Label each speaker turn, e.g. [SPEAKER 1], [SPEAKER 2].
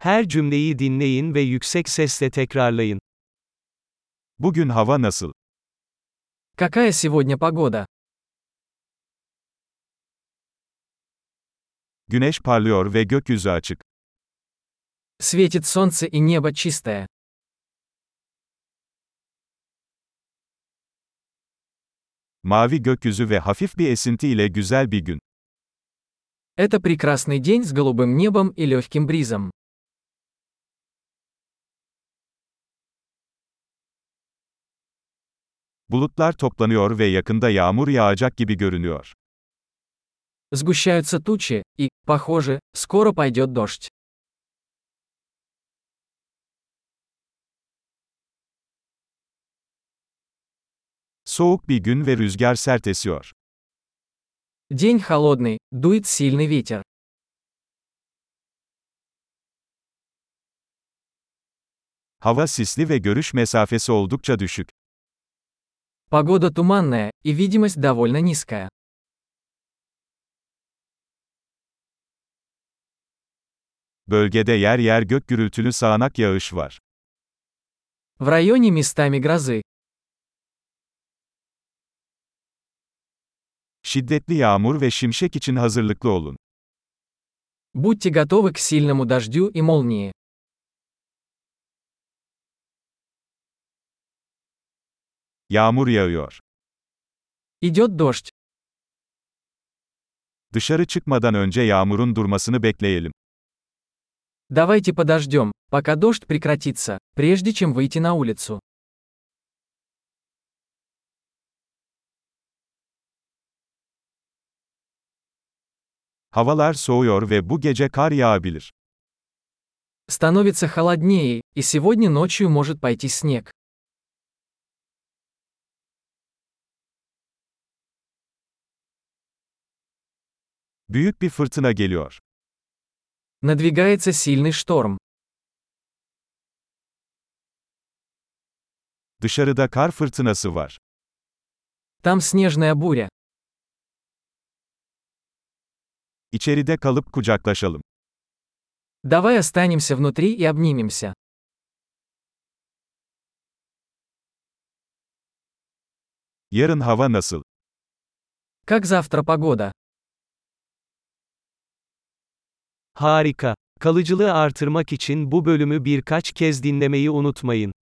[SPEAKER 1] Her cümleyi dinleyin ve yüksek sesle tekrarlayın.
[SPEAKER 2] Bugün hava nasıl?
[SPEAKER 3] Какая сегодня погода?
[SPEAKER 2] Güneş parlıyor ve gökyüzü açık.
[SPEAKER 3] Светит солнце и небо чистое.
[SPEAKER 2] Mavi gökyüzü ve hafif bir esinti ile güzel bir gün.
[SPEAKER 3] Это прекрасный день с голубым небом и легким бризом.
[SPEAKER 2] Bulutlar toplanıyor ve yakında yağmur yağacak gibi görünüyor.
[SPEAKER 3] Сгущаются тучи, и, похоже, скоро пойдет дождь.
[SPEAKER 2] Soğuk bir gün ve rüzgar sert esiyor.
[SPEAKER 3] День холодный, дует сильный ветер.
[SPEAKER 2] Hava sisli ve görüş mesafesi oldukça düşük.
[SPEAKER 3] Погода туманная, и видимость довольно низкая.
[SPEAKER 2] Bölgede yer yer gök gürültülü sağanak yağış var.
[SPEAKER 3] В районе местами грозы.
[SPEAKER 2] Şiddetli yağmur ve şimşek için hazırlıklı olun.
[SPEAKER 3] Будьте готовы к сильному дождю и молнии.
[SPEAKER 2] Yağmur yağıyor.
[SPEAKER 3] Идет дождь.
[SPEAKER 2] Dışarı çıkmadan önce yağmurun durmasını bekleyelim.
[SPEAKER 3] Давайте подождем, пока дождь прекратится, прежде чем выйти на улицу.
[SPEAKER 2] Havalar soğuyor ve bu gece kar yağabilir.
[SPEAKER 3] Становится холоднее, и сегодня ночью может пойти снег.
[SPEAKER 2] Büyük bir fırtına geliyor.
[SPEAKER 3] Надвигается сильный шторм.
[SPEAKER 2] Dışarıda kar fırtınası var.
[SPEAKER 3] Там снежная буря.
[SPEAKER 2] İçeride kalıp kucaklaşalım.
[SPEAKER 3] Давай останемся внутри и обнимемся.
[SPEAKER 2] Yarın hava nasıl?
[SPEAKER 3] Как завтра погода?
[SPEAKER 1] Harika. Kalıcılığı artırmak için bu bölümü birkaç kez dinlemeyi unutmayın.